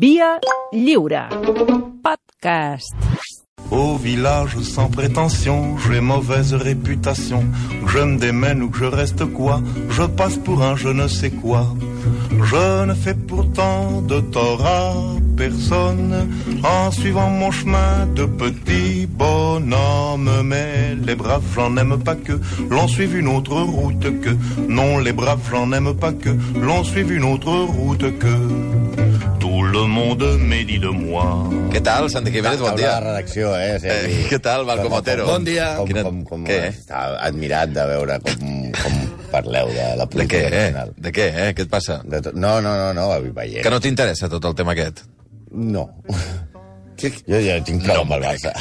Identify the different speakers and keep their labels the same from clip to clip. Speaker 1: Via Lliure. Podcast.
Speaker 2: Au village sans prétention, j'ai mauvaise réputation. Que Je me démène ou que je reste quoi, je passe pour un je ne sais quoi. Je ne fais pourtant de tort à personne en suivant mon chemin de petit bonhomme. Mais les braves, j'en n'aime pas que l'on suive une autre route que. Non, les braves, j'en n'aime pas que l'on suive une autre route que. Tout le monde médit de moi.
Speaker 3: Què tal, Santi Jiménez? Bon
Speaker 4: Taula de
Speaker 3: dia.
Speaker 4: redacció, eh? Sergi?
Speaker 3: Eh, què tal, Balcom
Speaker 4: Com-
Speaker 3: Otero?
Speaker 4: com-
Speaker 3: Bon dia.
Speaker 4: Com,
Speaker 3: Quina-
Speaker 4: com, com,
Speaker 3: què?
Speaker 4: Està admirat de veure com, com parleu de la
Speaker 3: De què,
Speaker 4: política
Speaker 3: eh?
Speaker 4: nacional.
Speaker 3: De què, eh? Què et passa?
Speaker 4: De to... No, no, no, no, avui veiem.
Speaker 3: Que no t'interessa tot el tema aquest?
Speaker 4: No. Jo ja tinc prou amb el Barça.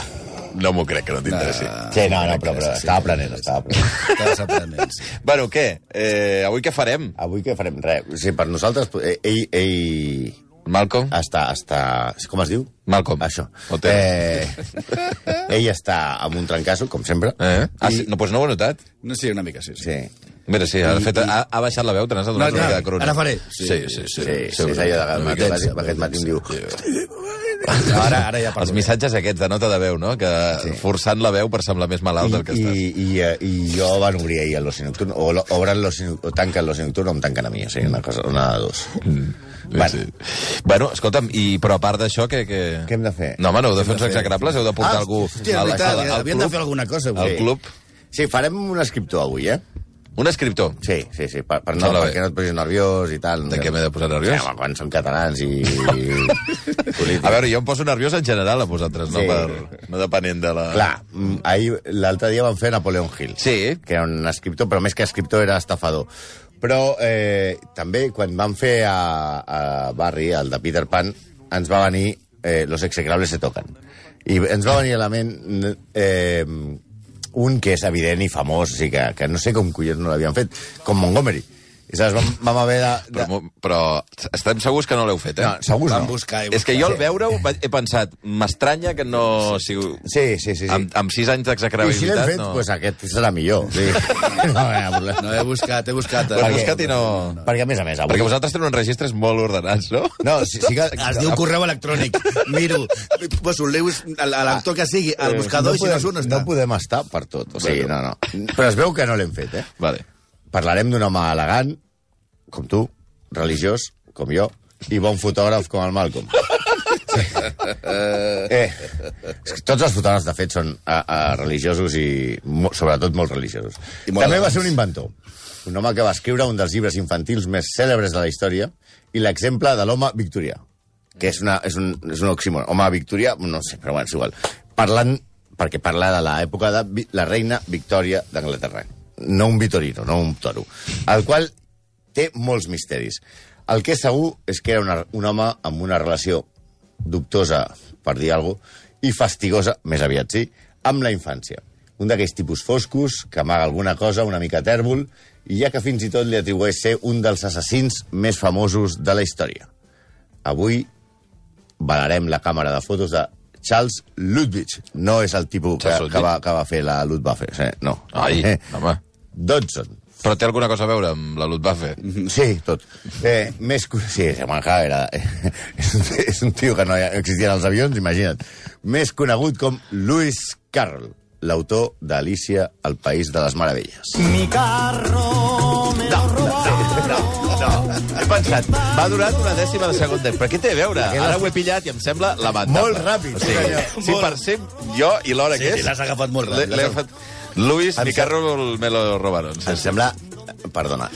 Speaker 3: No m'ho crec que no t'interessi. Uh...
Speaker 4: Sí, Ah, no, no, però, però estava aprenent, estava aprenent.
Speaker 5: Estàs aprenent. sí.
Speaker 3: Bueno, què? Eh, avui què farem?
Speaker 4: Avui què farem? Res. O sigui, per nosaltres... eh, Ell, ell,
Speaker 3: Malcolm?
Speaker 4: està, està... Com es diu?
Speaker 3: Malcolm.
Speaker 4: Ah. Això.
Speaker 3: Otero.
Speaker 4: Eh, ell està amb un trencasso, com sempre.
Speaker 3: Eh? Ah, sí? no, doncs no ho he notat.
Speaker 5: No, sí, una mica, sí. sí.
Speaker 4: Sí.
Speaker 3: Mira, sí, ha, fet, ha, ha baixat la veu, te n'has adonat
Speaker 5: No,
Speaker 3: una
Speaker 5: no,
Speaker 3: mica de crònica.
Speaker 5: ara faré.
Speaker 3: Sí, sí, sí.
Speaker 4: Sí, sí, sí, és allò de matí, aquest matí em diu...
Speaker 5: Ara, ara ja
Speaker 3: Els
Speaker 5: parlo.
Speaker 3: missatges aquests de nota de veu, no? Que sí. forçant la veu per semblar més malalt del que
Speaker 4: I,
Speaker 3: estàs.
Speaker 4: i, i, i jo van obrir ahir el l'oci nocturn, o lo- obren l'oci nocturn, o tanquen l'oci nocturn o em tanquen a mi, o sigui, una, cosa, una de dos.
Speaker 3: Mm. Bueno. Sí. bueno, escolta'm, i, però a part d'això, que, que...
Speaker 4: Què hem de fer?
Speaker 3: No, home, no heu de fer uns execrables, heu de portar
Speaker 4: Ah,
Speaker 3: algú
Speaker 5: Hòstia,
Speaker 3: a
Speaker 5: és
Speaker 3: la
Speaker 5: veritat,
Speaker 4: eh,
Speaker 3: sala, al
Speaker 5: havíem de
Speaker 3: club.
Speaker 5: fer alguna cosa. avui.
Speaker 3: Al club.
Speaker 4: Sí, farem un escriptor avui, eh?
Speaker 3: Un escriptor.
Speaker 4: Sí, sí, sí, per, per no,
Speaker 3: Sembla bé.
Speaker 4: perquè no et posis nerviós i tal.
Speaker 3: De què m'he de posar nerviós?
Speaker 4: Sí, home, quan som catalans i... i
Speaker 3: A veure, jo em poso nerviós en general a vosaltres, no,
Speaker 4: Sí.
Speaker 3: per, no depenent de la...
Speaker 4: Clar, mm, ahir l'altre dia van fer Napoleon Hill.
Speaker 3: Sí.
Speaker 4: Que era un escriptor, però més que escriptor era estafador. Però eh, també quan van fer a, a Barry, el de Peter Pan, ens va venir eh, Los execrables se toquen. I ens va venir a la ment eh, un que és evident i famós, o sigui que, que no sé com collons no l'havien fet, com Montgomery. I saps, vam, vam haver de... de...
Speaker 3: Però, mo- però estem segurs que no l'heu fet, eh?
Speaker 4: No, segur
Speaker 5: Van
Speaker 4: no.
Speaker 5: buscar i
Speaker 3: És que jo al
Speaker 5: buscar.
Speaker 3: veure-ho va- he pensat, m'estranya que no... Si,
Speaker 4: Sí, sí, sí. sí.
Speaker 3: amb, amb sis anys
Speaker 4: I si l'hem
Speaker 3: d'execrabilitat...
Speaker 4: fet,
Speaker 3: no.
Speaker 4: doncs pues aquest serà millor. Sí. no, eh, hi ha problema.
Speaker 5: No, he buscat, he buscat.
Speaker 3: Ho
Speaker 5: eh?
Speaker 3: he buscat i no...
Speaker 4: Perquè, a més a més, avui...
Speaker 3: Perquè vosaltres teniu uns registres molt ordenats, no?
Speaker 4: No, sí, sí que...
Speaker 5: Es diu correu electrònic. Miro, poso el Lewis, a l'actor que sigui, al buscador,
Speaker 4: Eh, no
Speaker 5: i si no
Speaker 4: podem,
Speaker 5: surt, no
Speaker 4: no
Speaker 5: està.
Speaker 4: podem estar per tot. O sigui, no,
Speaker 3: Bueno.
Speaker 4: no. Però es veu que no l'hem fet, eh?
Speaker 3: Vale.
Speaker 4: Parlarem d'un home elegant, com tu, religiós, com jo, i bon fotògraf com el Malcolm. eh, és que tots els fotògrafs, de fet, són a, a, religiosos i, mo, sobretot, molt religiosos.
Speaker 5: I molt
Speaker 4: També va
Speaker 5: elegants.
Speaker 4: ser un inventor. Un home que va escriure un dels llibres infantils més cèlebres de la història i l'exemple de l'home victorià, que és, una, és, un, és un oxímoron. Home victorià, no sé, però bueno, és igual. Parlant, perquè parla de l'època de Vi- la reina Victòria d'Anglaterra. No un vitorino, no un toro. El qual té molts misteris. El que és segur és que era una, un home amb una relació dubtosa, per dir alguna cosa, i fastigosa, més aviat sí, amb la infància. Un d'aquells tipus foscos, que amaga alguna cosa, una mica tèrbol, i ja que fins i tot li atribueix ser un dels assassins més famosos de la història. Avui valarem la càmera de fotos de Charles Ludwig. No és el tipus que,
Speaker 3: Charles Ludwig?
Speaker 4: que, va, que va fer la Luftwaffe, eh? no.
Speaker 3: Ai,
Speaker 4: eh?
Speaker 3: home.
Speaker 4: Dodson,
Speaker 3: Però té alguna cosa a veure amb la Luftwaffe?
Speaker 4: Sí, tot. Eh, més... cu- Sí, se m'acaba, era... és, un, és un tio que no hi ha- existien els avions, imagina't. Més conegut com Lewis Carroll, l'autor d'Alícia, el país de les meravelles.
Speaker 6: Mi carro me lo robaron.
Speaker 3: He pensat, m'ha durat una dècima de segon. de- Però què té a veure?
Speaker 4: Aquella-
Speaker 3: Ara ho he pillat i em sembla lamentable.
Speaker 4: Molt ràpid,
Speaker 3: Sí,
Speaker 4: senyor.
Speaker 3: sí per ser jo i l'hora
Speaker 5: Sí,
Speaker 3: que
Speaker 5: sí,
Speaker 3: és...
Speaker 5: l'has agafat molt
Speaker 3: l'he-
Speaker 5: ràpid.
Speaker 3: L'he fet... Luis,
Speaker 4: Em
Speaker 3: mi carro me lo robaron. Sí,
Speaker 4: Em
Speaker 3: sí.
Speaker 4: sembla... Perdona.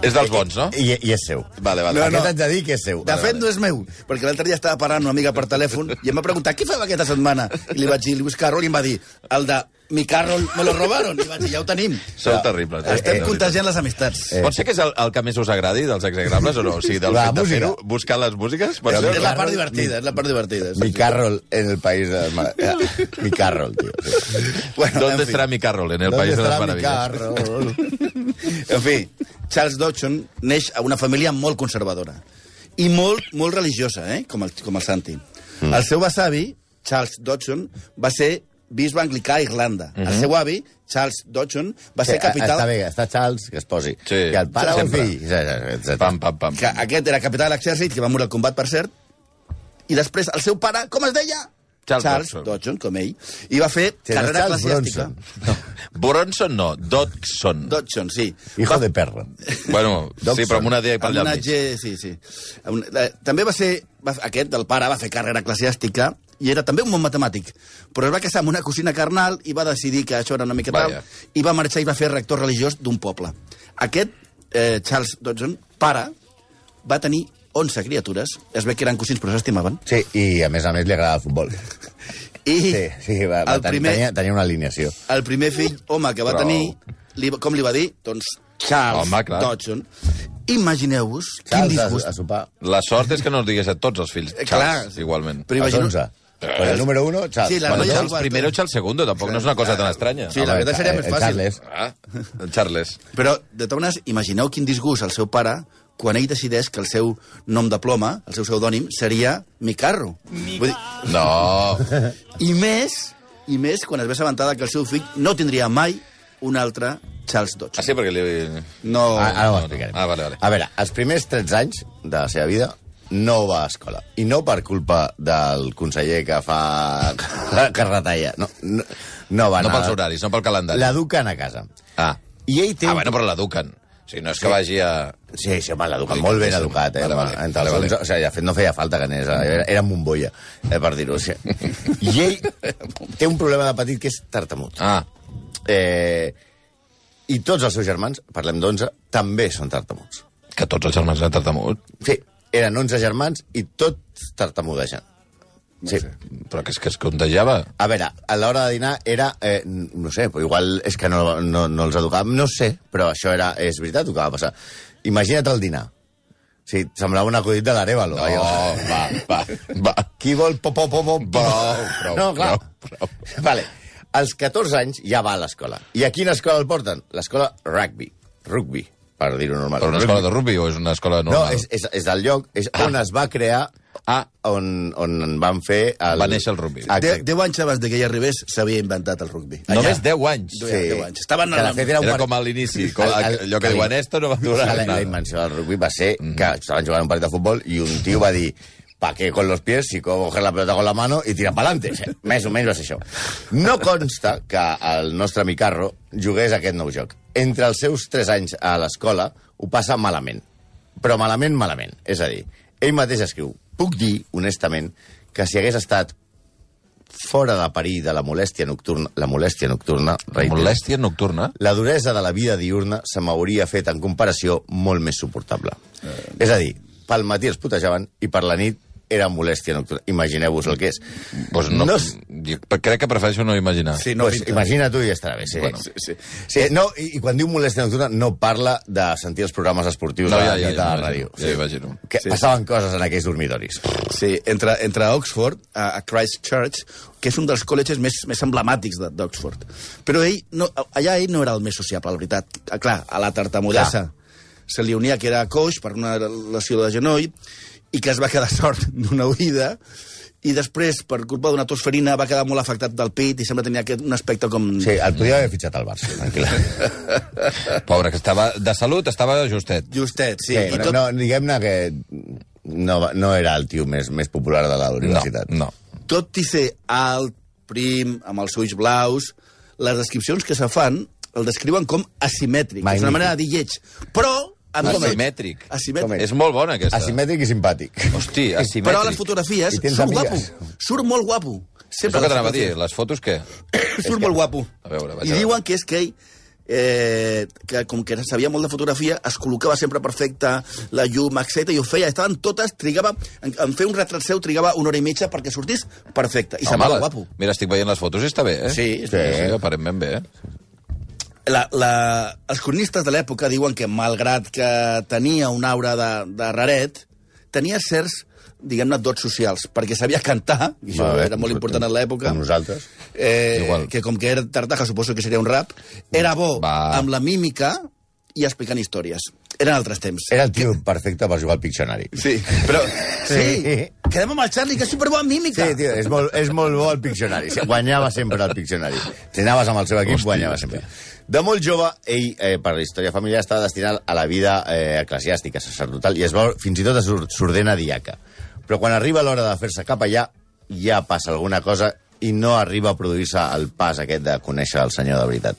Speaker 3: És dels bons, no?
Speaker 4: I, i és seu.
Speaker 3: Vale, vale.
Speaker 5: No,
Speaker 4: Aquest
Speaker 5: no.
Speaker 4: haig de dir que és seu.
Speaker 5: De fet, no és meu, perquè l'altre dia estava parlant amb una amiga per telèfon i em va preguntar què feu aquesta setmana? I li vaig dir Lewis Carroll i em va dir el de mi Carroll me lo robaron. I vaig dir, ja ho tenim.
Speaker 3: Sou terribles. eh?
Speaker 5: Estem
Speaker 3: Eh,
Speaker 5: contagiant les amistats.
Speaker 3: eh. Pot ser que és el, el que més us agradi dels exagrables o no? O sigui, del
Speaker 4: La
Speaker 3: fet de
Speaker 4: música.
Speaker 3: fer-ho, buscar les músiques? Pot
Speaker 5: És
Speaker 3: ser,
Speaker 5: la part divertida, és la part divertida.
Speaker 4: Mi Carroll en el país de les meravelles. Mi Carroll, tio. Sí.
Speaker 5: Bueno, en
Speaker 3: ¿Dónde
Speaker 5: fi.
Speaker 3: estará mi Carroll? En el País de
Speaker 4: estarà
Speaker 3: las
Speaker 4: mi
Speaker 3: Maravillas.
Speaker 4: Carroll?
Speaker 5: En fi, Charles Dodson neix a una família molt conservadora i molt, molt religiosa, eh? com, el, com el Santi. Mm. El seu besavi, Charles Dodson, va ser bisbe anglicà a Irlanda. Mm -hmm. El seu avi, Charles Dodson, va ser
Speaker 4: Sí,
Speaker 5: capital...
Speaker 4: Mhm. ah, Està bé, està Charles, que es posi.
Speaker 3: Sí.
Speaker 4: Que el pare o el
Speaker 3: Sempre.
Speaker 4: fill. Sí, sí, sí, sí.
Speaker 3: Pam, pam, pam.
Speaker 5: que aquest era capità de l'exèrcit, que va morir al combat, per cert, I després el seu pare, com es deia?
Speaker 3: Charles Dodson.
Speaker 5: Dodson. com ell. I va fer
Speaker 4: Era
Speaker 5: carrera
Speaker 4: Charles
Speaker 5: eclesiàstica.
Speaker 4: Bronson.
Speaker 3: Bronson no, Dodson.
Speaker 5: Dodson, sí.
Speaker 4: Hijo de perra.
Speaker 3: Bueno, sí,
Speaker 4: Dodson.
Speaker 3: però amb una D pel
Speaker 5: Amb una
Speaker 3: llarg. mig.
Speaker 5: G, sí, sí. Amb una- la- També va ser... Va, aquest, del pare, va fer carrera eclesiàstica i era també un bon matemàtic, però es va casar amb una cosina carnal i va decidir que això era una mica tal,
Speaker 3: Vaja.
Speaker 5: i va marxar i va fer rector religiós d'un poble. Aquest, eh, Charles Dodson, pare, va tenir 11 criatures, es ve que eren cosins però s'estimaven,
Speaker 4: Sí, i a més a més li agrada el futbol.
Speaker 5: i
Speaker 4: Sí, sí, va, va
Speaker 5: el, primer,
Speaker 4: tenia, tenia una alineació.
Speaker 5: el primer fill, home, que va
Speaker 3: Però-
Speaker 5: tenir, li, va- com li va dir? Doncs Charles
Speaker 3: Home, clar.
Speaker 5: Dodson. Imagineu-vos quin
Speaker 4: Charles,
Speaker 5: disgust.
Speaker 4: a, a sopar.
Speaker 3: La sort és que no els digués a tots els fills.
Speaker 5: Eh,
Speaker 3: Charles,
Speaker 5: clar.
Speaker 3: igualment.
Speaker 5: Però
Speaker 4: Als
Speaker 5: imagino-
Speaker 4: 11. Però
Speaker 3: Eh.
Speaker 4: el número 1, Charles.
Speaker 5: Sí, la
Speaker 3: Bueno,
Speaker 5: noia-
Speaker 3: Charles primero, Charles segundo, tampoc no és una cosa tan estranya.
Speaker 5: Sí, la veritat seria més
Speaker 4: el
Speaker 5: fàcil.
Speaker 4: Charles.
Speaker 3: Ah, el Charles.
Speaker 5: Però, de totes maneres, imagineu quin disgust al seu pare quan ell decideix que el seu nom de ploma, el seu pseudònim, seria Micarro. Vull dir,
Speaker 3: No.
Speaker 5: I més, i més quan es ve assabentada que el seu fill no tindria mai un altre Charles
Speaker 3: Ah,
Speaker 5: Dodson.
Speaker 3: sí, perquè li...
Speaker 5: No...
Speaker 4: Ah, ara
Speaker 3: no,
Speaker 4: ho
Speaker 3: no.
Speaker 4: explicarem.
Speaker 3: Oh. Ah, vale, vale.
Speaker 4: A veure, els primers 13 anys de la seva vida no va a escola. I no per culpa del conseller que fa... que retalla. No, no, no va
Speaker 3: No
Speaker 4: anar...
Speaker 3: pels horaris, no pel calendari.
Speaker 4: L'eduquen a casa.
Speaker 3: Ah.
Speaker 4: I ell té...
Speaker 3: ah,
Speaker 4: un-
Speaker 3: bueno, però l'eduquen. O sigui, no és que vagi a...
Speaker 4: Sí, sí, home, l'educat,
Speaker 3: Ui,
Speaker 4: molt ben
Speaker 3: sí, sí.
Speaker 4: educat, eh?
Speaker 3: Vale,
Speaker 4: Vale,
Speaker 3: vale.
Speaker 4: Entre
Speaker 3: Vale,
Speaker 4: els
Speaker 3: vale.
Speaker 4: 11, o sigui, de fet, no feia falta que anés, eh? era, era Momboia, eh, per dir-ho així. I ell té un problema de petit que és tartamut.
Speaker 3: Ah,
Speaker 4: Eh, I tots els seus germans, parlem d'11, també són tartamuts.
Speaker 3: que tots els germans han tartamut.
Speaker 4: Sí, eren 11 germans i tots tartamudejant. Sí.
Speaker 3: Però que és que es contagiava.
Speaker 4: A veure, a l'hora de dinar era... Eh, no sé, però igual és que no, no, no els educàvem, no sé, però això era, és veritat el que va passar. Imagina't el dinar. Sí, semblava un acudit de l'Arevalo.
Speaker 3: No, va, va, va.
Speaker 4: Qui vol popo, popo,
Speaker 3: Prou, prou,
Speaker 4: No, clar.
Speaker 3: prou, prou.
Speaker 4: Vale. Als 14 anys ja va a l'escola. I a quina escola el porten? L'escola rugby. Rugby, per dir-ho normal.
Speaker 3: Però una
Speaker 4: Rugby.
Speaker 3: escola de rugby o és una escola
Speaker 4: No,
Speaker 3: normal?
Speaker 4: és, és, és del lloc, és on es va crear,
Speaker 3: Ah.
Speaker 4: on, on van fer... El...
Speaker 3: Va néixer el rugby.
Speaker 4: Exacte.
Speaker 5: De, deu anys abans de que ell arribés, s'havia inventat el rugby.
Speaker 3: Només 10 anys.
Speaker 5: Sí. deu anys. Estaven
Speaker 4: que de
Speaker 5: a la-
Speaker 4: fet era, un
Speaker 3: Era
Speaker 4: partit-
Speaker 3: com a l'inici, com
Speaker 4: El- el-
Speaker 3: allò que
Speaker 4: el-
Speaker 3: diuen, esto no va durar
Speaker 4: la, la
Speaker 3: nada. Mm-hmm.
Speaker 4: invenció del rugby va ser que estaven jugant un partit de futbol i un tio va dir pa qué con los pies si puedo coger la pelota con la mano i tirar pa'lante. Sí, Més o menys va ser això. No consta que el nostre Micarro jugués aquest nou joc. Entre els seus 3 anys a l'escola ho passa malament. Però malament, malament. És a dir, ell mateix escriu puc dir, honestament, que si hagués estat fora de perill de la molèstia nocturna, la molèstia nocturna, reitero,
Speaker 3: Molèstia nocturna?
Speaker 4: la duresa de la vida diurna se m'hauria fet en comparació molt més suportable. Eh... És a dir, pel matí els putejaven i per la nit era molèstia nocturna. Imagineu-vos el que és.
Speaker 3: Pues no,
Speaker 4: Doncs No
Speaker 3: no,
Speaker 4: es-
Speaker 3: jo crec que prefereixo no imaginar.
Speaker 5: Sí, no
Speaker 4: No, pues,
Speaker 5: pinta.
Speaker 4: imagina tu i estarà bé. Sí.
Speaker 3: Bueno.
Speaker 4: Bueno, sí, sí. Eh, sí no, i, I quan diu molèstia nocturna no parla de sentir els programes esportius no, a la ja, nit ja, a la
Speaker 3: m'imagino,
Speaker 4: ràdio.
Speaker 3: ja m'imagino.
Speaker 4: Que sí, passaven coses en aquells dormidoris.
Speaker 5: Sí, entre, entre Oxford, a, a Christchurch, que és un dels col·leges més, més emblemàtics de- d'Oxford. Però ell, no, allà ell no era el més sociable, la veritat. Ah, Clar, a la tartamudesa se li unia que era coix per una lesió de genoll i que es va quedar sort d'una oïda i després, per culpa d'una tosferina, va quedar molt afectat del pit i sembla tenia aquest, un aspecte com...
Speaker 4: Sí, el podia haver fitxat al Barça, tranquil·lament.
Speaker 3: Pobre, que estava de salut, estava justet.
Speaker 5: Justet, sí.
Speaker 4: Sí,
Speaker 5: I
Speaker 4: no, no, Diguem-ne que no, va- no era el tio més, més popular de la
Speaker 3: No,
Speaker 4: universitat.
Speaker 3: no.
Speaker 5: tot i ser alt, prim, amb els ulls blaus, les descripcions que se fan el descriuen com asimètric.
Speaker 4: Magnífic.
Speaker 5: És una manera de dir lleig. Però... amb com ell.
Speaker 3: Asimètric.
Speaker 4: Com
Speaker 5: Asimètric.
Speaker 4: ell.
Speaker 3: És molt bona, aquesta.
Speaker 4: Asimètric i simpàtic.
Speaker 3: Hosti, asimètric.
Speaker 5: Però a les fotografies
Speaker 4: I tens
Speaker 5: surt
Speaker 4: amigues.
Speaker 5: guapo. Surt molt guapo.
Speaker 3: Això
Speaker 5: a
Speaker 3: que
Speaker 5: les
Speaker 3: t'anava a dir,
Speaker 5: fotografies.
Speaker 3: les fotos què?
Speaker 5: Surt molt guapo.
Speaker 3: A veure, vaig
Speaker 5: I
Speaker 3: a veure.
Speaker 5: diuen que és que ell, eh, que com que sabia molt de fotografia, es col·locava sempre perfecta, la llum, etc i ho feia. Estaven totes, trigava, en, en fer un retrat seu trigava una hora i mitja perquè sortís perfecte. I semblava
Speaker 3: la-
Speaker 5: guapo.
Speaker 3: Mira, estic veient les fotos i està bé, eh?
Speaker 5: Sí,
Speaker 3: sí,
Speaker 5: sí.
Speaker 3: sí aparentment bé, eh?
Speaker 5: la, la, els cronistes de l'època diuen que, malgrat que tenia una aura de, de raret, tenia certs, diguem-ne, dots socials, perquè sabia cantar, i això
Speaker 4: Va bé,
Speaker 5: era molt important en l'època,
Speaker 4: Com nosaltres.
Speaker 5: eh,
Speaker 3: Igual.
Speaker 5: que com que era tartaja, suposo que seria un rap, era bo
Speaker 3: Va.
Speaker 5: amb la mímica i explicant històries. Eren altres temps.
Speaker 4: Era el tio perfecte per jugar al Pictionary.
Speaker 5: Sí, però... Sí,
Speaker 4: Sí.
Speaker 5: quedem amb el Charlie, que és superbo en mímica.
Speaker 4: Sí, tio, és molt, és molt bo al Pictionary. Sí, Guanyava sempre al Pictionary. Si anaves amb el seu equip,
Speaker 3: Hòstia,
Speaker 4: hòstia, guanyava
Speaker 3: hòstia.
Speaker 4: sempre. De molt jove, ell, eh, per la història familiar, estava destinat a la vida eh, eclesiàstica, sacerdotal, i es va, fins i tot es or- s'ordena diaca. Però quan arriba l'hora de fer-se cap allà, ja passa alguna cosa i no arriba a produir-se el pas aquest de conèixer el senyor de veritat.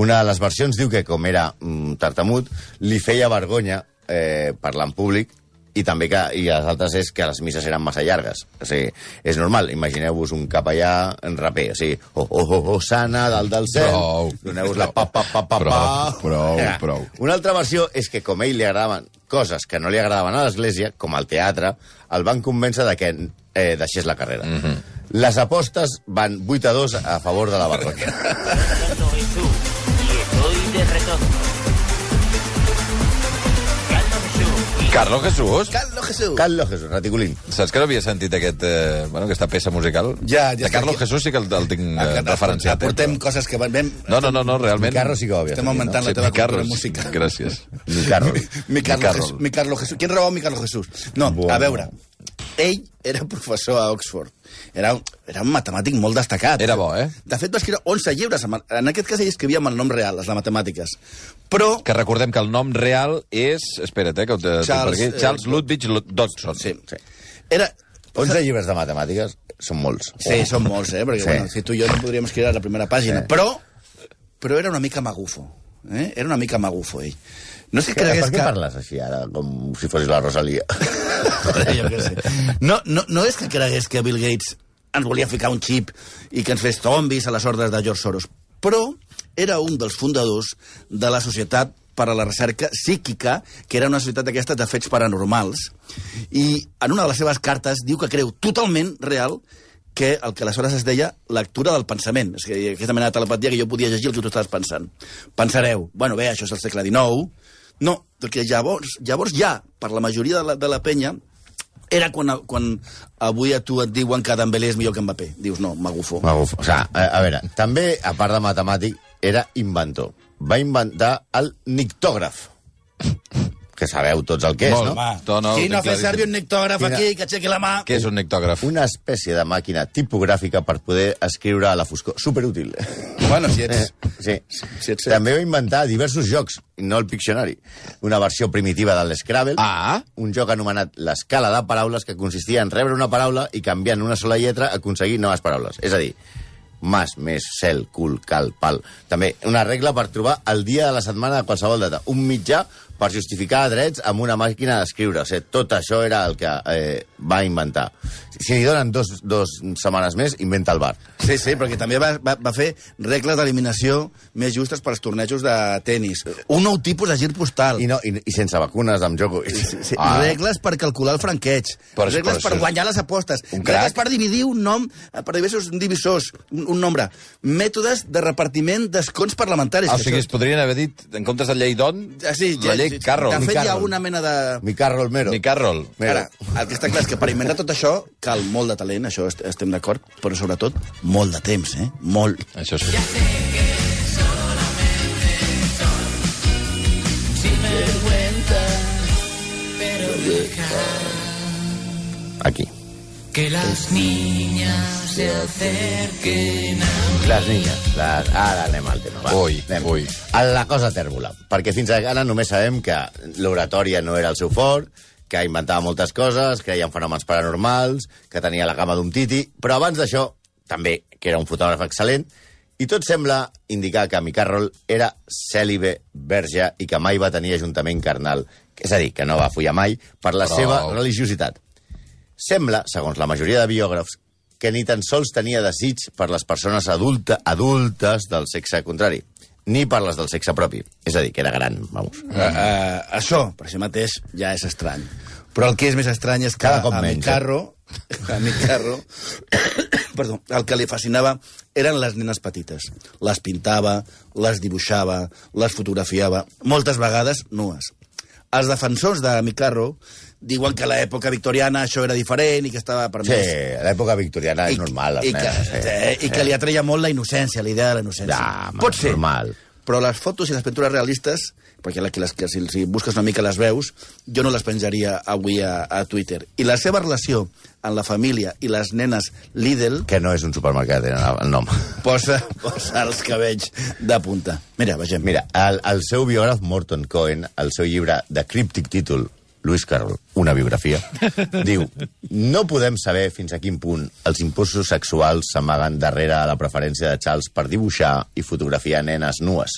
Speaker 4: Una de les versions diu que, com era mm, tartamut, li feia vergonya eh, parlar en públic i també que, i les altres és que les misses eren massa llargues. O sigui, és normal, imagineu-vos un capellà en raper, o sigui, oh, oh, oh, oh sana, dalt del cel,
Speaker 7: Prou.
Speaker 4: doneu-vos la pa, pa, pa, pa,
Speaker 7: Prou,
Speaker 4: pa.
Speaker 7: prou,
Speaker 4: Ja.
Speaker 7: prou.
Speaker 4: Una altra versió és que, com a ell li agradaven coses que no li agradaven a l'església, com el teatre, el van convèncer de que eh, deixés la carrera. Mm
Speaker 7: Mhm.
Speaker 4: -hmm. Les apostes van 8 a 2 a favor de la barroca.
Speaker 8: Santo Jesús, y estoy de retorno. Santo Jesús,
Speaker 7: Carlos Jesús.
Speaker 5: Carlos Jesús.
Speaker 4: Carlos Jesús, reticulín.
Speaker 7: Saps que no havia sentit aquest, eh, bueno, aquesta peça musical?
Speaker 5: Ja, ja
Speaker 7: De Carlos
Speaker 5: sé que-
Speaker 7: Jesús sí que el, el tinc eh,
Speaker 5: Aquest-
Speaker 7: referenciat. eh,
Speaker 5: Aportem
Speaker 7: però-
Speaker 5: coses que van... Vam...
Speaker 7: No, no, no, no realment...
Speaker 4: Mi Carlos sí que ho havia sentit,
Speaker 5: Estem
Speaker 4: no?
Speaker 5: augmentant la teva
Speaker 7: mi Carlos.
Speaker 5: cultura musical.
Speaker 7: Gràcies.
Speaker 4: Mi Carlos.
Speaker 5: Mi Carlos,
Speaker 7: Carlos.
Speaker 5: Jesús, mi Carlos Jesús. Qui robava mi Carlos Jesús? No,
Speaker 4: Bueno.
Speaker 5: a veure, ell era professor a Oxford. Era un, era un matemàtic molt destacat.
Speaker 7: Era bo, eh?
Speaker 5: De fet, va escriure 11 llibres. amb- En aquest cas, ell escrivia amb el nom real, les de matemàtiques. Però...
Speaker 7: Que recordem que el nom real és... Espera't, eh, que ho te- tinc
Speaker 5: Charles,
Speaker 7: per aquí.
Speaker 5: eh,
Speaker 7: Charles Ludwig Lo- Dodson.
Speaker 5: Sí, sí. Era...
Speaker 4: 11 llibres de matemàtiques són molts.
Speaker 5: Sí, són molts, eh? Perquè,
Speaker 4: Sí.
Speaker 5: sí. bueno, si tu i jo no podríem escriure la primera pàgina.
Speaker 4: Sí.
Speaker 5: Sí. Però, però era una mica magufo. Eh? Era una mica magufo, ell. No sé
Speaker 4: Per
Speaker 5: cregués
Speaker 4: què
Speaker 5: que...
Speaker 4: parles així ara, com si fossis la Rosalia?
Speaker 5: Jo què sé. No, no, no és que cregués que Bill Gates ens volia ficar un xip i que ens fes zombis a les ordres de George Soros, però era un dels fundadors de la Societat per a la Recerca Psíquica, que era una societat d'aquestes de fets paranormals, i en una de les seves cartes diu que creu totalment real que el que aleshores es deia lectura del pensament. És que aquesta mena de telepatia que jo podia llegir el que tu estàs pensant. Pensareu, bueno, bé, això és el segle XIX... No, perquè llavors, llavors ja, per la majoria de la, de la penya, era quan, quan avui a tu et diuen que Dembélé és millor que Mbappé. Dius, no, m'agufo.
Speaker 4: Magufo. O sigui, a, a veure, també, a part de matemàtic, era inventor. Va inventar el nictògraf, que sabeu tots el que és,
Speaker 7: Molt,
Speaker 4: no?
Speaker 7: va. No, no, ho
Speaker 5: Qui
Speaker 7: tinc
Speaker 5: no ha fet
Speaker 7: claríssim.
Speaker 5: servir un nictògraf
Speaker 4: Quina-
Speaker 5: aquí, que aixequi la mà?
Speaker 7: Què és un nictògraf?
Speaker 4: Una espècie de màquina tipogràfica per poder escriure a la foscor. Superútil.
Speaker 5: Bueno, si ets...
Speaker 4: Eh, Sí.
Speaker 5: Sí, sí.
Speaker 4: També va inventar diversos jocs, no el Pictionary. Una versió primitiva de l'Scrabble,
Speaker 7: Ah.
Speaker 4: un joc anomenat l'escala de paraules que consistia en rebre una paraula i canviant una sola lletra aconseguir noves paraules. És a dir, mas, més, cel, cul, cal, pal. També una regla per trobar el dia de la setmana de qualsevol data. Un mitjà per justificar drets amb una màquina d'escriure. O sigui, tot això era el que eh, va inventar. Si li donen dos, dos setmanes més, inventa el bar.
Speaker 5: Sí, sí, perquè també va, va, va fer regles d'eliminació més justes per als tornejos de tennis. Un nou tipus de gir postal.
Speaker 4: I, no, i, i sense vacunes, amb Ah, eh? Djokovic.
Speaker 5: Sí, sí. Regles per calcular el franqueig,
Speaker 7: Però és-
Speaker 5: regles
Speaker 7: però Ah. això
Speaker 5: per
Speaker 7: és-
Speaker 5: guanyar les apostes,
Speaker 7: Un crac.
Speaker 5: regles per dividir un nom eh, per diversos divisors, un, un nombre, mètodes de repartiment d'escons parlamentaris.
Speaker 7: Ah, o
Speaker 5: que
Speaker 7: sigui,
Speaker 5: això-
Speaker 7: es podrien haver dit, en comptes de Lleidon,
Speaker 5: Ah, sí,
Speaker 7: la
Speaker 5: ja-
Speaker 7: llei
Speaker 5: sí,
Speaker 7: Carroll.
Speaker 5: De fet, hi ha
Speaker 7: Carroll.
Speaker 5: una mena de...
Speaker 4: Mi carro Olmero.
Speaker 7: Ni Carroll.
Speaker 5: Ara, el que està clar és que per inventar tot això cal molt de talent, això est estem d'acord, però sobretot molt de temps, eh? Molt.
Speaker 7: Això sí.
Speaker 4: Aquí.
Speaker 8: que las niñas se acerquen
Speaker 4: Les niñas. Les... Ara anem al tema. Va.
Speaker 7: Ui,
Speaker 4: anem.
Speaker 7: ui.
Speaker 4: A la cosa tèrbola. Perquè fins ara només sabem que l'oratòria no era el seu fort, que inventava moltes coses, creia en fenòmens paranormals, que tenia la gama d'un titi, però abans d'això, també, que era un fotògraf excel·lent, i tot sembla indicar que Mi Carroll era cèlibe, verge, i que mai va tenir ajuntament carnal. És a dir, que no va follar mai per la
Speaker 7: Prou.
Speaker 4: seva religiositat. Sembla, segons la majoria de biògrafs, que ni tan sols tenia desig per les persones adulta, adultes del sexe contrari, ni per les del sexe propi. És a dir, que era gran, vamos.
Speaker 5: Uh, uh, això, per si mateix, ja és estrany. Però el que és més estrany és que
Speaker 4: Cada cop
Speaker 5: a
Speaker 4: menys, eh?
Speaker 5: Micarro, a Micarro, perdó, el que li fascinava eren les nenes petites. Les pintava, les dibuixava, les fotografiava, moltes vegades nues. Els defensors de Micarro diuen que a l'època victoriana això era diferent i que estava
Speaker 4: Sí,
Speaker 5: permès.
Speaker 4: a l'època victoriana Ah, és normal, les
Speaker 5: i, que,
Speaker 4: nenes. sí.
Speaker 5: eh, I que li atreia molt la innocència, la idea de la innocència.
Speaker 4: Ja, home,
Speaker 5: Pot ser,
Speaker 4: normal.
Speaker 5: però les fotos i les pintures realistes, perquè la- que les, que si, si busques una mica les veus, jo no les penjaria avui a, a Twitter. I la seva relació amb la família i les nenes Lidl
Speaker 4: Que no és un supermercat, era el nom.
Speaker 5: posa, posa els cabells de punta. Mira, vegem.
Speaker 4: Mira, el, el seu biògraf Morton Cohen, al seu llibre de críptic títol, Lewis Carroll, una biografia, diu no podem saber fins a quin punt els impulsos sexuals s'amaguen darrere la preferència de Charles per dibuixar i fotografiar nenes nues.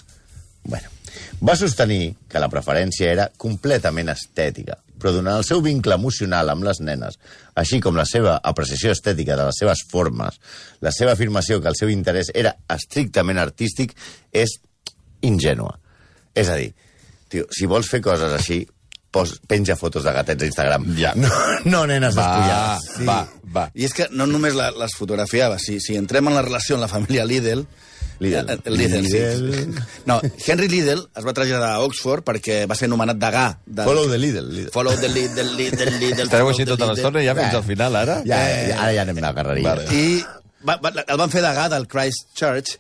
Speaker 4: Bueno, va sostenir que la preferència era completament estètica, però durant el seu vincle emocional amb les nenes, així com la seva apreciació estètica de les seves formes, la seva afirmació que el seu interès era estrictament artístic és ingènua. És a dir, tio, si vols fer coses així, pos, penja fotos de gatets a Instagram.
Speaker 7: Ja.
Speaker 4: No, no nenes
Speaker 7: Va,
Speaker 4: despullades.
Speaker 7: va, va.
Speaker 5: I és que no només la, les fotografiava, si, si entrem en la relació amb la família Lidl...
Speaker 4: Lidl.
Speaker 5: eh, Lidl, sí.
Speaker 4: Lidl.
Speaker 5: No, Henry Lidl es va traslladar a Oxford perquè va ser nomenat degà. De...
Speaker 4: Follow the Lidl. Lidl.
Speaker 5: Follow the Lidl, Lidl, Lidl...
Speaker 7: Estareu
Speaker 5: follow
Speaker 7: així
Speaker 5: the
Speaker 7: tota
Speaker 5: Lidl.
Speaker 7: l'estona ja fins
Speaker 4: Va.
Speaker 7: al final, ara? Eh.
Speaker 4: Ja, ja, ara ja anem a la carreria. Vale.
Speaker 5: I va, va, el van fer degà del Christ Church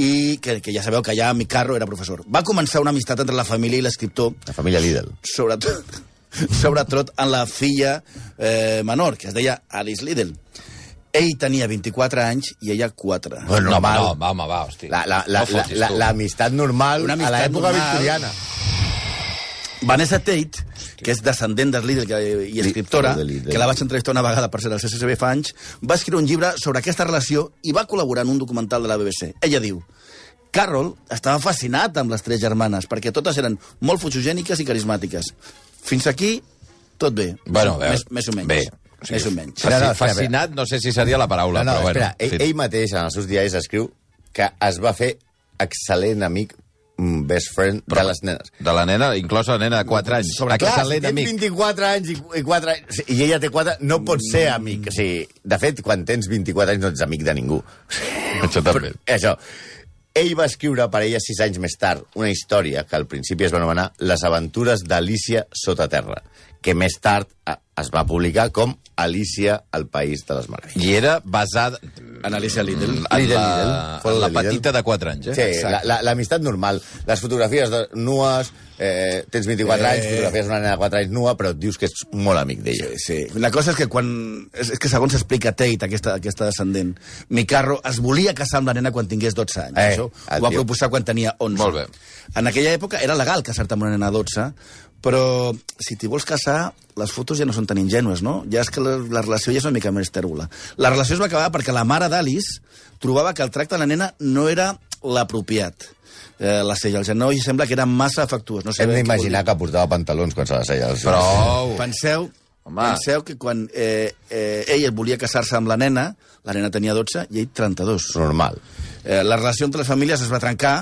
Speaker 5: i que, que ja sabeu que ja Mick Carro era professor. Va començar una amistat entre la família i l'escriptor,
Speaker 4: La família Lidl.
Speaker 5: sobretot, sobretot en la filla eh, menor, que es deia Alice Liddell. Ell tenia 24 anys i ella 4.
Speaker 4: Bueno,
Speaker 7: no,
Speaker 4: normal.
Speaker 7: no, home, va, hosti.
Speaker 4: La, la,
Speaker 7: no
Speaker 4: la, la,
Speaker 7: fotis,
Speaker 4: la,
Speaker 7: tu.
Speaker 4: l'amistat normal
Speaker 5: Una
Speaker 4: a
Speaker 5: amistat
Speaker 4: l'època
Speaker 5: normal.
Speaker 4: victoriana.
Speaker 5: Vanessa Tate, que és descendent del Lidl que- i escriptora,
Speaker 4: de Lidl.
Speaker 5: que la vaig entrevistar una vegada per ser al CCCB fa anys, va escriure un llibre sobre aquesta relació i va col·laborar en un documental de la BBC. Ella diu... Carroll estava fascinat amb les tres germanes, perquè totes eren molt fotogèniques i carismàtiques. Fins aquí, tot bé.
Speaker 7: Bueno, a veure,
Speaker 4: eh,
Speaker 5: més, més o menys.
Speaker 7: bé.
Speaker 5: O sigui, més o menys.
Speaker 4: No, no, espera,
Speaker 7: Fasci- Fascinat, no sé si seria la paraula,
Speaker 4: No, no,
Speaker 7: però bueno.
Speaker 4: espera, ell,
Speaker 7: sí.
Speaker 4: ell mateix en els seus diaris escriu que es va fer excel·lent amic, mm, best friend, de les nenes.
Speaker 7: De la nena, inclosa la nena de 4 anys.
Speaker 4: Sobre
Speaker 7: Excel·lent
Speaker 4: clar, si
Speaker 7: amic.
Speaker 4: tens 24 anys i, i 4 anys, i ella té 4, no pots ser amic. O sigui, de fet, quan tens 24 anys no ets amic de ningú.
Speaker 7: Això també.
Speaker 4: Això. Ell va escriure per ella sis anys més tard una història que al principi es va anomenar Les aventures d'Alícia sota terra, que més tard eh, es va publicar com Alícia al País de les Meravelles.
Speaker 7: I era basada...
Speaker 5: Anàlisi a Lidl.
Speaker 7: En
Speaker 4: Lidl,
Speaker 7: la,
Speaker 4: Lidl.
Speaker 7: en la
Speaker 4: Lidl.
Speaker 7: petita de 4 anys, eh?
Speaker 4: Sí, la- la- l'amistat normal. Les fotografies de nues, eh, tens 24 eh. anys, fotografies una nena de 4 anys nua, però et dius que ets molt amic d'ella.
Speaker 5: Sí, sí. La cosa és que quan... És, és que segons explica Tate, aquesta, aquesta descendent, Micarro es volia casar amb la nena quan tingués 12 anys.
Speaker 4: Eh,
Speaker 5: Això
Speaker 4: el
Speaker 5: ho va
Speaker 4: tio.
Speaker 5: proposar quan tenia 11.
Speaker 7: Molt bé.
Speaker 5: En aquella època era legal casar-te amb una nena de 12, però si t'hi vols casar, les fotos ja no són tan ingenues, no? Ja és que la, la relació ja és una mica més tèrbola. La relació es va acabar perquè la mare d'Alice trobava que el tracte de la nena no era l'apropiat. Eh, la sella al genoll i sembla que era massa afectuós. No sé
Speaker 4: Hem
Speaker 5: bé què vol dir.
Speaker 4: d'imaginar que portava pantalons quan se les feia.
Speaker 7: Prou.
Speaker 5: Penseu,
Speaker 7: Home.
Speaker 5: Home. penseu que quan eh, eh, ell volia casar-se amb la nena, la nena tenia 12 i ell 32.
Speaker 4: És normal.
Speaker 5: Eh, la relació entre les famílies es va trencar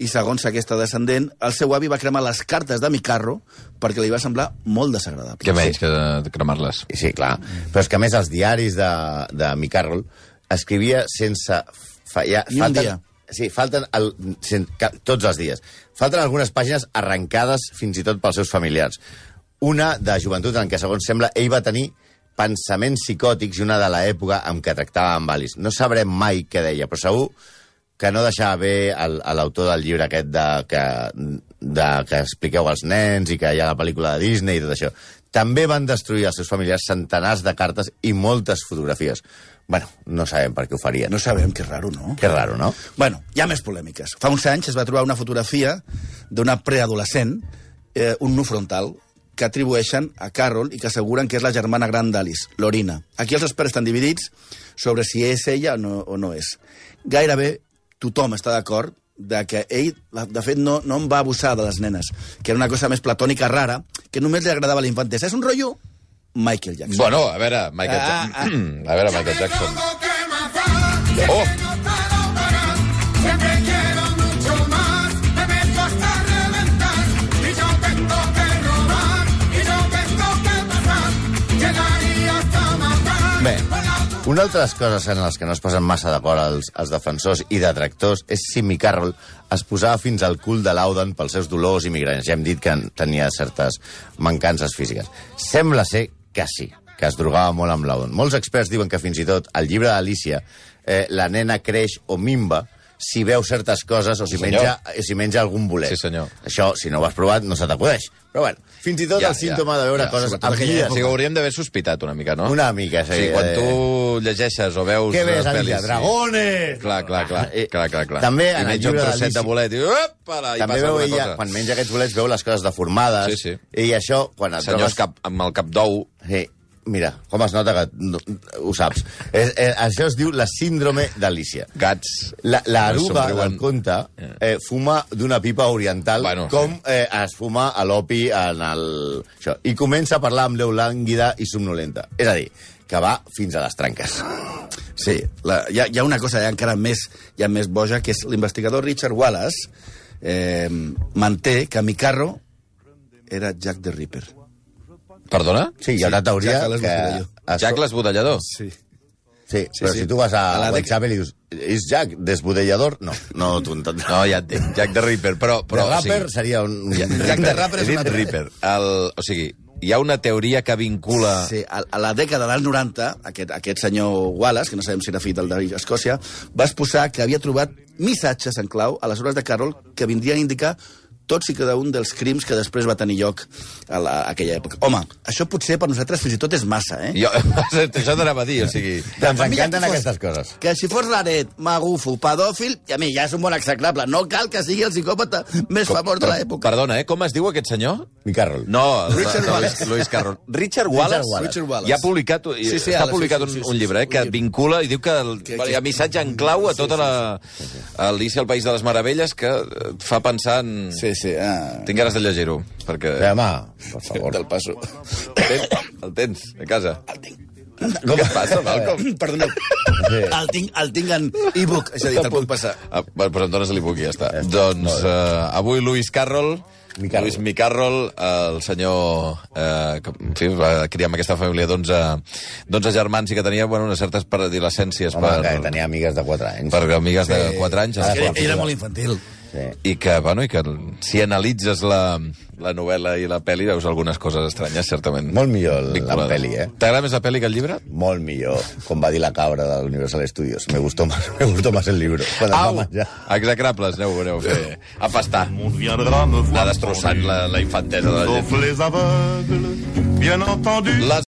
Speaker 5: i, segons aquesta descendent, el seu avi va cremar les cartes de Micarro perquè li va semblar molt desagradable.
Speaker 7: Què menys que cremar-les?
Speaker 4: I Sí, clar. Però és que, a més, els diaris de, de Mick Carroll escrivia sense... Fallar,
Speaker 5: Ni un dia.
Speaker 4: Sí, falten el, sen, ca- tots els dies. Falten algunes pàgines arrencades fins i tot pels seus familiars. Una de joventut en què, segons sembla, ell va tenir pensaments psicòtics i una de l'època en què tractava amb Alice. No sabrem mai què deia, però segur que no deixava bé el- a l'autor del llibre aquest de, que, de, que expliqueu als nens i que hi ha la pel·lícula de Disney i tot això. També van destruir els seus familiars centenars de cartes i moltes fotografies. Bueno, no sabem per què ho farien.
Speaker 5: No sabem, que raro, no?
Speaker 4: Que raro, no?
Speaker 5: Bueno, hi ha més polèmiques. Fa uns anys es va trobar una fotografia d'una preadolescent, eh, un nu frontal, que atribueixen a Carroll i que asseguren que és la germana gran d'Alice, l'Orina. Aquí els experts estan dividits sobre si és ella o no, o no és. Gairebé tothom està d'acord de que ell, la- de fet, no, no en va abusar de les nenes, que era una cosa més platònica rara, que només li agradava a la infantesa. És un rotllo Michael Jackson.
Speaker 7: Bueno, a veure, Michael
Speaker 5: Ah,
Speaker 7: Jackson. A veure, Michael Jackson.
Speaker 9: Oh.
Speaker 4: Bé, una altra de les coses en les que no es posen massa d'acord els, els defensors i detractors és si Mick Carroll es posava fins al cul de Lauden pels seus dolors i migrants. Ja hem dit que en tenia certes mancances físiques. Sembla ser que sí, que es drogava molt amb Lauden. Molts experts diuen que fins i tot al llibre d'Alícia eh, la nena creix o mimba si veu certes coses o si,
Speaker 3: senyor.
Speaker 4: menja, o si menja algun bolet.
Speaker 3: Sí, senyor.
Speaker 4: Això, si no ho has provat, no se t'acudeix. Però bueno, fins i tot ja, el símptoma ja, de veure ja, coses
Speaker 3: sobretot
Speaker 4: amb
Speaker 3: aquella
Speaker 4: guies.
Speaker 3: època. O sigui, ho hauríem d'haver sospitat una mica, no?
Speaker 4: Una mica, sí,
Speaker 3: sí. quan
Speaker 4: eh.
Speaker 3: tu llegeixes o veus...
Speaker 4: Què ves,
Speaker 3: les pel·lis,
Speaker 4: Adilla?
Speaker 3: sí.
Speaker 4: Dragones!
Speaker 3: Clar, clar, clar.
Speaker 4: Eh,
Speaker 3: clar, clar, clar.
Speaker 4: també en
Speaker 3: I
Speaker 4: el
Speaker 3: menja un
Speaker 4: llibre de
Speaker 3: trosset de
Speaker 4: Lisi-
Speaker 3: bolet i... Opala, i
Speaker 4: També
Speaker 3: passa
Speaker 4: veu
Speaker 3: alguna
Speaker 4: ella,
Speaker 3: cosa.
Speaker 4: quan menja aquests bolets, veu les coses deformades.
Speaker 3: Sí, sí.
Speaker 4: I això, quan et
Speaker 3: Senyors
Speaker 4: trobes-
Speaker 3: cap, amb el cap d'ou...
Speaker 4: Sí, mira, com es nota que no, ho saps. És, és, això es diu la síndrome d'Alícia.
Speaker 3: Gats.
Speaker 4: La, la aruba
Speaker 3: somriuen.
Speaker 4: del conte eh, fuma d'una pipa oriental
Speaker 3: Bueno,
Speaker 4: bueno, com eh, es fuma a l'opi en el... Això, I comença a parlar amb veu lànguida i somnolenta. És a dir, que va fins a les tranques.
Speaker 5: Sí, la, hi, ha, hi ha una cosa encara més, ja més boja, que és l'investigador Richard Wallace eh, manté que Micarro era Jack the Ripper.
Speaker 3: Perdona?
Speaker 4: Sí, hi ha una teoria
Speaker 5: Jack
Speaker 4: que...
Speaker 5: l'esbotellador.
Speaker 4: es-
Speaker 3: Jack l'esbotellador.
Speaker 5: Sí.
Speaker 4: Sí, però
Speaker 5: sí.
Speaker 4: si tu vas a,
Speaker 5: A la
Speaker 4: a
Speaker 5: dec-
Speaker 4: Whitechapel i dius és Jack desbudellador? No, no t'ho entendràs.
Speaker 3: No, ja et dic, Jack the Ripper, però...
Speaker 4: Però,
Speaker 3: però
Speaker 4: de rapper
Speaker 3: o
Speaker 4: sí. seria un...
Speaker 3: sigui,
Speaker 5: Jack the Ripper
Speaker 3: he
Speaker 5: és
Speaker 3: dit
Speaker 5: una altra-
Speaker 3: Ripper. El, o sigui, hi ha una teoria que vincula...
Speaker 5: Sí, a, a la dècada dels 90, aquest, aquest senyor Wallace, que no sabem si era fill del d'Escòcia, va exposar que havia trobat missatges en clau a les obres de Carroll que vindrien a indicar tots i cada un dels crims que després va tenir lloc a, la, a aquella època. Home, això potser per nosaltres fins i tot és massa, eh?
Speaker 3: Jo, això t'anava a dir, o sigui...
Speaker 4: Ens
Speaker 5: Doncs Mira,
Speaker 4: encanten
Speaker 5: que fos-
Speaker 4: aquestes coses.
Speaker 5: Que si fos l'aret, magufo, pedòfil, i a mi ja és un bon execrable. No cal que sigui el psicòpata més famós de l'època.
Speaker 3: Perdona, eh? Com es diu aquest senyor?
Speaker 4: Micarrol.
Speaker 3: No, el-
Speaker 5: Richard
Speaker 3: el-
Speaker 5: Wallace.
Speaker 3: Luis, Luis Carroll. Richard Wallace,
Speaker 5: Wallace. Richard Wallace.
Speaker 3: Ja ha publicat, sí,
Speaker 5: Sí,
Speaker 3: sí,
Speaker 5: sí,
Speaker 3: està
Speaker 5: ara,
Speaker 3: publicat
Speaker 5: sí,
Speaker 3: un,
Speaker 5: sí, sí,
Speaker 3: un
Speaker 5: sí,
Speaker 3: llibre eh,
Speaker 5: sí,
Speaker 3: que
Speaker 5: sí.
Speaker 3: vincula i diu que, el,
Speaker 5: Que-
Speaker 3: hi ha missatge en clau a tota la... A Alicia al País de les Meravelles que eh, fa pensar en...
Speaker 5: Sí, sí, ah.
Speaker 3: Tinc ganes de llegir-ho, perquè...
Speaker 4: Eh, home, per favor.
Speaker 5: Te'l passo.
Speaker 3: El tens, el tens, a casa. Com Què et passa, Malcolm?
Speaker 5: Perdoneu.
Speaker 4: Sí.
Speaker 5: El tinc, el tinc en e-book, és a dir, te'l puc passar.
Speaker 3: Ah, bueno, doncs em dones l'e-book i ja està. Doncs eh, avui Luis Carroll,
Speaker 4: Micarroll.
Speaker 3: Luis Micarroll, eh, el senyor eh, que en fi, va criar amb aquesta família d'11 germans i que tenia bueno, unes certes paradilescències
Speaker 4: Home, que
Speaker 3: per,
Speaker 4: tenia amigues de 4 anys.
Speaker 3: per amigues de 4 anys.
Speaker 4: Ah,
Speaker 3: es
Speaker 4: era-
Speaker 3: va-
Speaker 4: era
Speaker 5: molt infantil.
Speaker 4: Sí.
Speaker 3: i que, bueno, i que si analitzes la, la novel·la i la pel·li veus algunes coses estranyes, certament.
Speaker 4: Molt millor la
Speaker 3: vinculades.
Speaker 4: pel·li, eh?
Speaker 3: T'agrada més la pel·li que el llibre?
Speaker 4: Molt millor, com va dir la cabra de Universal Studios. Me gustó más, me gustó más el libro. Quan es va menjar.
Speaker 3: Execrables, aneu, aneu a fer... A pastar.
Speaker 2: On viendra me
Speaker 3: Anar
Speaker 2: voir.
Speaker 3: destrossant la, la infantesa de la gent.
Speaker 2: Sauf les aveugles, bien entendu.
Speaker 3: Les